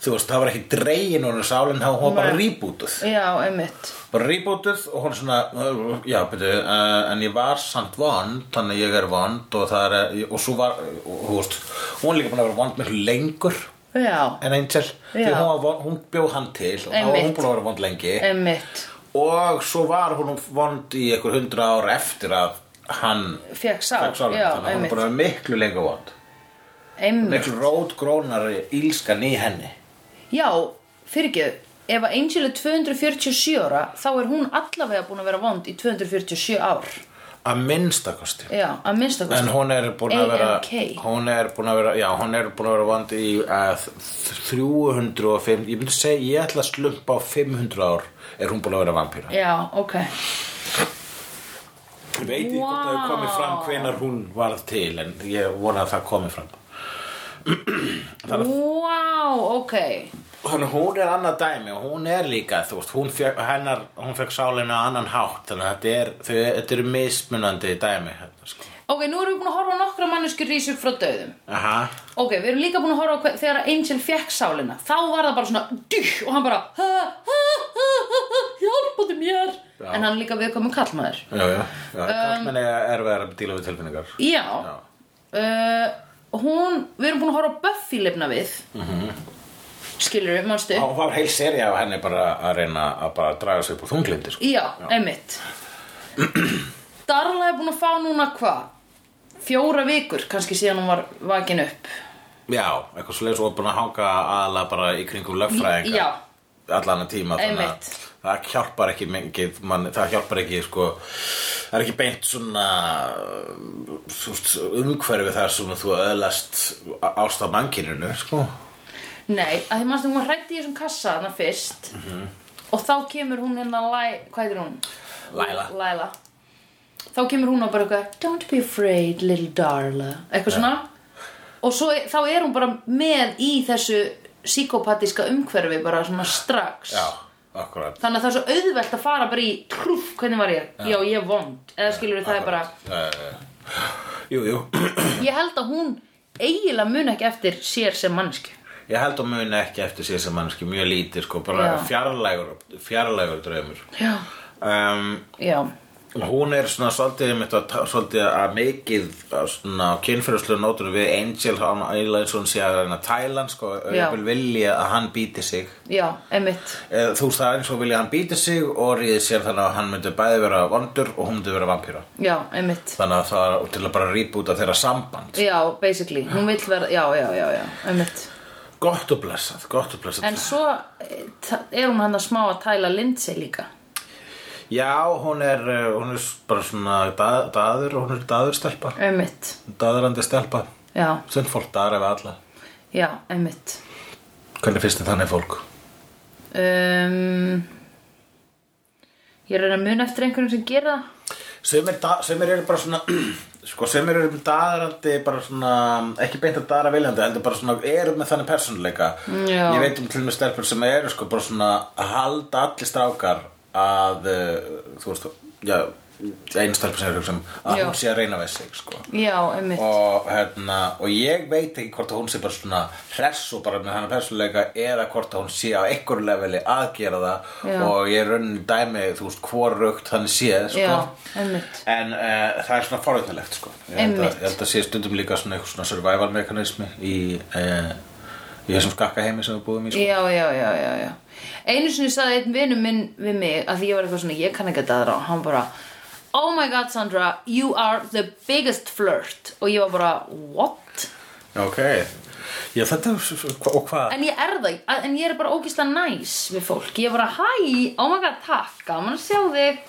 þú veist, það var ekki dregin og hún sálinn, þá hún var bara
Nei.
rebootuð.
Já, einmitt.
Bara rebootuð og hún er svona, já, byrju, uh, en ég var samt vond, þannig að ég er vond og það er, og svo var, og, þú veist, hún er líka búin að vera vond miklu lengur
Já,
en Angel, því
Já.
hún, var vond- hún bjóð hann til og þá var hún
Einmitt.
búin að vera vond lengi.
einmitt.
og svo var hún vond í einhver hundra ára eftir að hann
Fekk sál,
fékk sálina.
já,
þannig að hún
einmitt.
er bara miklu lengur vond
Einmitt.
miklu rótgrónari ílskan í henni
Já, fyrirgeðu, ef að Angel er 247 ára, þá er hún allavega búin að vera vond í 247 ár.
að minnstakosti
Já, að minnsta
en
kosti.
hún er búin að vera
AMK.
hún er búin að vera já, hún er búin að vera vond í uh, 305 ég myndi segja, ég ætla að slumpa á 500 ár er hún búin að vera vampýra
Já, ok.
ég veit ekki hvort það hefur komið fram hvenar hún varð til en ég vona að það komið fram
wow, ok
Þannig að hún er annað dæmi og hún er líka, þú veist, hún fekk, hennar, hún fekk sálinu á annan hátt, þannig að þetta, er, þau, þetta eru mismunandi dæmi. hérna, Sko.
ok, nú erum við búin að horfa á nokkra manneskjur rís upp frá döðum
Aha,
ok, við erum líka búin að horfa á hver, þegar Angel fekk sálina þá var það bara svona dyh, og hann bara "Ha, ha, ha, ha, ha, hjálpaðu mér
Já.
en hann er líka viðkomum kallmaður
já, já, já, um, er verið að díla við tilfinningar.
Já, Uh, Hún, við erum búin að horfa á Buffy lifna við mm Skilur við, manstu?
Hún var heil serið af henni bara að reyna að bara draga sig upp úr þunglindi, sko.
Já, einmitt Darla er búin að fá núna hvað? Fjóra vikur, kannski síðan hún var vakin upp
Já, eitthvað svo leiðis og búin að hanga aðalega bara í kringum lögfræðinga.
Já.
Allan að tíma, þannig að
Einmitt.
það hjálpar ekki mikið, mann, það hjálpar ekki, sko, það er ekki beint svona, þú veist, umhverfi þar sem þú öðlast ást á mannkyninu, sko.
Nei, að því manstu hún var hrætt í þessum kassa þarna fyrst Og þá kemur hún hérna Læ... Hvað heitir hún?
Laila.
Læla Þá kemur hún og bara eitthvað Don't be afraid, little Darla Eitthvað svona Og svo, þá er hún bara með í þessu Psykopatíska umhverfi bara svona strax
Já, akkurat.
Þannig að það er svo auðvelt að fara bara í Trúf, hvernig var ég? Já, ég er vond Eða skilur við það er bara
Jú, jú,
Ég held að hún eiginlega mun ekki eftir sér sem mannsku
ég held að muni ekki eftir sér sem mannski mjög lítið, sko, bara
Já.
fjarlægur, fjarlægur draumur.
Já
Um,
Já,
hún er svona svolítið, mitt, að, ta- svolítið að mikið að svona kynfyrirslu nótur við Angel hann eiginlega eins og hún sé að reyna að tæla hann sko,
Já.
auðvitað vilja að hann býti sig
já, einmitt
Eða, þú veist það er eins og vilja að hann býti sig og ríði sér þannig að hann myndi bæði vera vondur og hún myndi vera vampíra
Já, einmitt
þannig að það er til að bara rýbúta þeirra samband
Já, basically, hún vill verða, já, já, já, já, einmitt
gott og blessað, gott og blessað
En svo eh, ta- er hún hann að smá að tæla Lindsay líka
já, hún er, eh, hún er bara svona dað, daður, hún er daðurstelpa
Einmitt,
daðurandi stelpa,
já,
sund fólk daðar ef alla
já, einmitt
hvernig finnst þið þannig fólk?
um, Ég er að reyna að muna eftir einhverjum sem gera það
Sumir, da, sumir eru bara svona sko, sumir eru daðrandi bara svona, ekki beint að daðra viljandi heldur bara svona, eru með þannig persónuleika
Já.
ég veit um til með stelpur sem eru sko, bara svona, að halda allir strákar að, uh, þú veist já, einu stelpur sem eru sem, að
Já.
hún sé að reyna við sig sko.
Já, einmitt,
og, hérna, og ég veit ekki hvort að hún sé bara svona hress og bara með hennar persónuleika eða hvort að hún sé á einhverju leveli að gera það
Já.
og ég raunin dæmi, þú veist, hvorugt hann sé sko.
já, einmitt
En uh, það er svona forvitilegt sko. Ég held að-
Einmitt.
Ég held að sé stundum líka svona eitthvað svona survival mekanismi í, uh, í þessum skakkaheimi sem við búum í sko.
Já, já, já, já, já Einu sinni sagði einn vinur minn við mig að því ég var eitthvað svona, ég kann ekki að daðra og hann bara, oh my god Sandra you are the biggest flirt og ég var bara, what?
Ok. Já þetta er, og hvað?
En ég er það, að- en ég er bara ógislega næs við fólk Ég er bara, hæ, oh my god, takk, gaman að sjá þig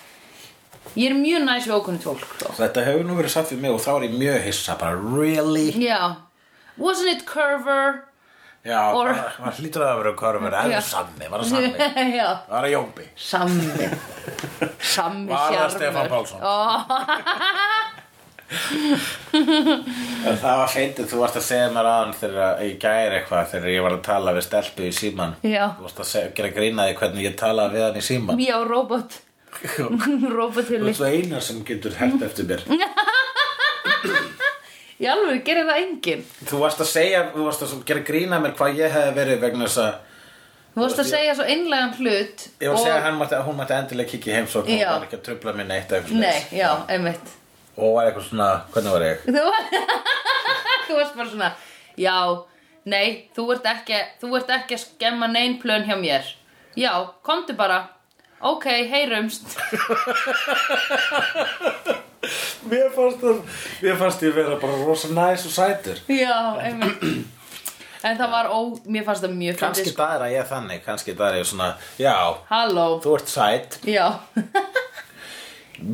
Ég er mjög næs við ókunnit fólk sko. þó.
Þetta hefur nú verið satt við mig og þá er ég mjög hissa bara really?
Já, wasn't it Curver?
Já,
Or-
það- maður hlýtur að það vera hverfum er
Já.
eða sanni, var það sanni?
Já,
Var það Jómbi?
sammi Sammi
Var það
sjarmör.
Stefán Pálsson?
Ó,
Það var feintið, þú varst að segja mér aðan þegar ég gæri eitthvað þegar ég var að tala við stelpu í síman
Já.
Þú varst að segja, gera grínaði hvernig ég talaði við hann í síman
Já, robot Robot
Þú
hulli
ert svo eina sem getur hægt eftir mér
Mm. Í alveg, gerir það enginn
Þú varst að segja, þú varst að gera grína mér hvað ég hefði verið vegna þess að
Þú varst að segja svo einlegan hlut
Ég var að segja að hann mætti, hún mætti endilega kikið heimsókn og
Já.
var ekki að trubla mér neitt eitthvað
Nei,
svoleiðis.
já, einmitt
Og var eitthvað svona, hvernig var ég?
Þú, þú varst bara svona Já, nei, þú ert ekki Þú ert ekki að skemma neyn plön hjá mér Já, komdu bara Ok, heyrumst
Mér fannst, það, mér fannst ég vera bara rosa næs og sætur
Já, einmitt En það var ó, mér fannst það mjög
Kanski
fyndið, sko.
það er að ég þannig, kannski það er ég svona Já,
Halló
þú ert sæt
Já,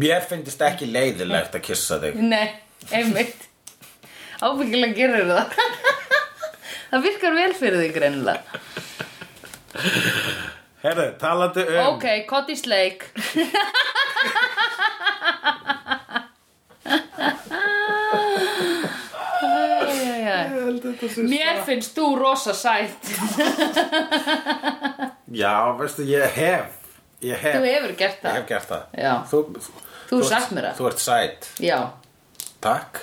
Mér finnst ekki leiðilegt að kissa þig
nei, einmitt Ábyggilega gerir það Það virkar vel fyrir þig greinilega
Herðu, talandi um
Ok, Cotty's Lake
þú veist,
Mér finnst þú rosa sætt
Já, veistu, ég hef Ég hef,
Þú hefur gert
ég
það
hef gert það
Já.
Þú,
Þú
ert-
sagt mér það.
Þú ert sæt,
Já
takk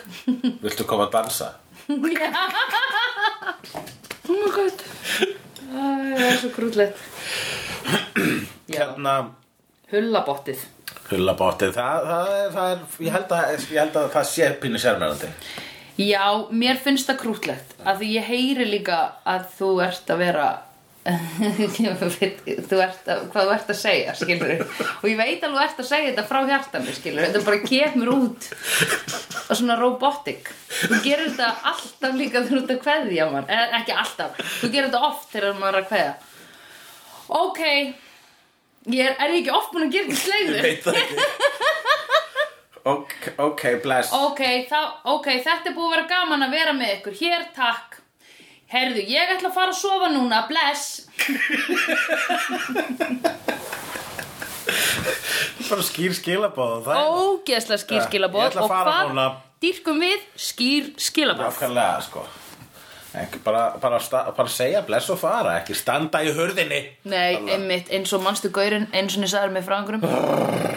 Viltu koma að dansa?
Oh my god Æ, Það er svo grútlegt Já,
Hérna,
hullabottið
hullabottið það, það, er- það er, ég held að, ég held að það sé pínu sérmærandi
Já, mér finnst það krútlegt að því ég heyri líka að þú ert að vera ég veit, þú ert að, hvað þú ert að segja skilur og ég veit alveg þú ert að segja þetta frá hjartanu skilur þetta bara kemur út og svona robotic þú gerir þetta alltaf líka þegar þú ert að kveðja mann eh, ekki alltaf, þú gerir þetta oft þegar maður er að kveðja ok ég er, er ég ekki oft búin að gera ekki slegður
Veit það ekki Ok, ok, bless
Ok, þá, ok, þetta er búið að vera gaman að vera með ykkur Hér, takk Herðu, ég ætla að fara að sofa núna, bless
Bara skýr skilabóð það er-
Ógeðslega skýr
Já, Eh, ég
skilaboð
ætla að
Og
fara
hvað
núna.
dýrkum við skýr skilaboð
Nákvæmlega, sko ekki, bara, bara, sta- bara segja bless og fara ekki standa í hurðinni
Nei, einmitt, eins og mannstu gaurinn eins og niður sagður með frangurum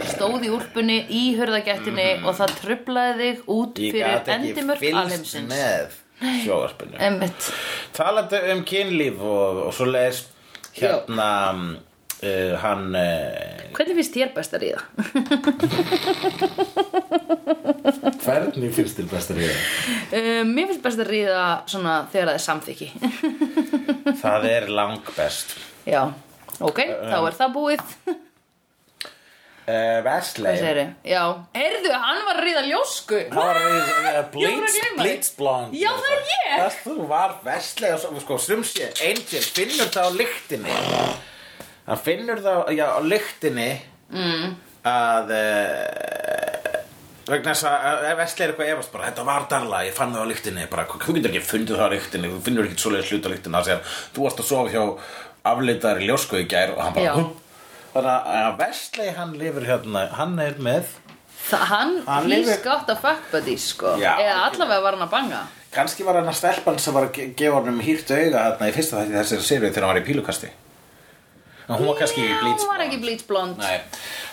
stóð í úlpunni í hörðagættinni og það trublaði þig út
Mhm. ég
fyrir
gat ekki
endimörk
fylgst
alheimsins Eh.
með sjóvarpinu
Einmitt,
talandi um kynlíf og, og svo leis hérna uh, hann uh,
hvernig finnst þér best að ríða?
hvernig finnst þér bestar í það?
Um, mér finnst best að ríða svona þegar það er samþykki
það er langbest
Já, ok,
Eh,
þá er það búið
uh,
Hvað
Vestley
segirðu? Já. Heyrðu, hann var að ríða ljósku.
Hann var í
Ég var að
bleach,
gleyma því.
bleach blonde
Já, það er ég.
Það þú var vestlega svo, sko, sumsi, Angel, finnur það á lyktinni Hann finnur það já, á lyktinni mm. að uh, vegna þess að vestlega er eitthvað efast bara, þetta var darla, ég fann það á lyktinni bara, hvað- þú getur ekki fundið það á lyktinni þú finnur ekki svoleiðis hluta á lyktinni að segja þú varst að sofa hjá afleitari ljósku í gær og hann bara
Já.
"Hm." Þannig að Vestley hann lifir hérna, hann er með
Þa, hann,
Hann
hann he's
lifir-
got a fuck buddy, sko.
Já.
Eða allavega var hann að banga.
Kanski var hann að stelpan sem var að ge- gefa honum hýrt auga þarna í fyrsta þætti þessari serið þegar hann var í pílukasti. En hún var kannski í
Já,
blíts.
Hún var ekki bleach blond.
Nei.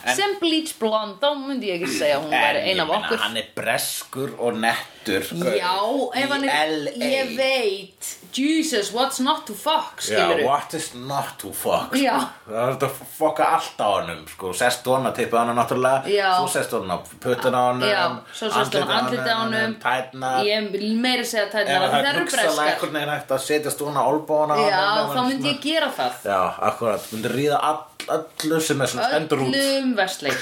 En,
Sem bleach blond, þá myndi ég ekki segja að hún væri
en
ein
ég
af
meina,
okkur.
hann er breskur og nettur.
Já, ef hann er, ég veit, Jesus, what's not to fuck, skilur
Já, what is not to fuck? sko.
Já.
Það er þetta að fokka allt á honum, sko. Sest hona, tippið hana náttúrulega.
Já.
Svo sest hona, puttun á honum.
Já, svo sérst hún andlitið á honum
Tætnar.
Ég meiri segja
Ef
tætnar, það
það er
eru
hugsalega
breskar
einhvern veginn hægt að setja stóna álbóna á
Já,
honum,
þá myndi ég gera það
Já, akkurat, myndir ríða all, allu sem er svona stendur út
öllum versleik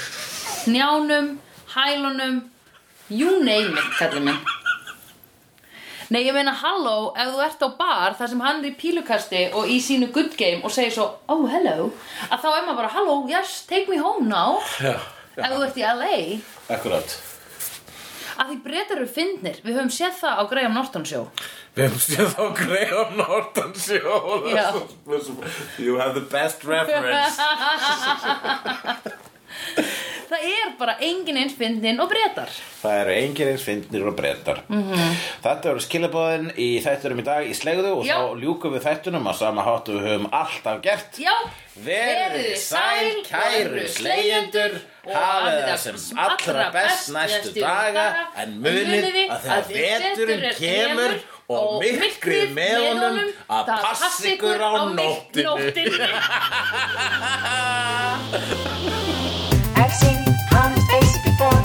njánum, hælunum you name it, kallar minn nei, ég meina halló, ef þú ert á bar þar sem hann er í pílukasti og í sínu good game og segir svo, oh hello að þá er maður bara, halló, yes, take me home now
Já,
ef þú ert í LA
akkurat
að því breytar eru fyndnir, við höfum séð það á Graham Norton show
Við höfum séð þá Graham Norton sjó
Já.
You have the best reference
það er bara engin eins fyndnin og breytar
Það eru engir eins fyndnir og breytar -hmm. Þetta eru skilabóðin í þætturum í dag í slegðu og
Mhm. Já.
þá ljúkum við þættunum að sama hátu við höfum alltaf gert
já,
Verið
verið
sæl, kæru slegjendur
og
hafið það sem allra best næstu daga en munið að þegar veturinn kemur og myrkrið með honum að passa ykkur á nóttinu
I've seen honest faces before.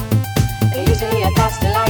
They're usually a past delight.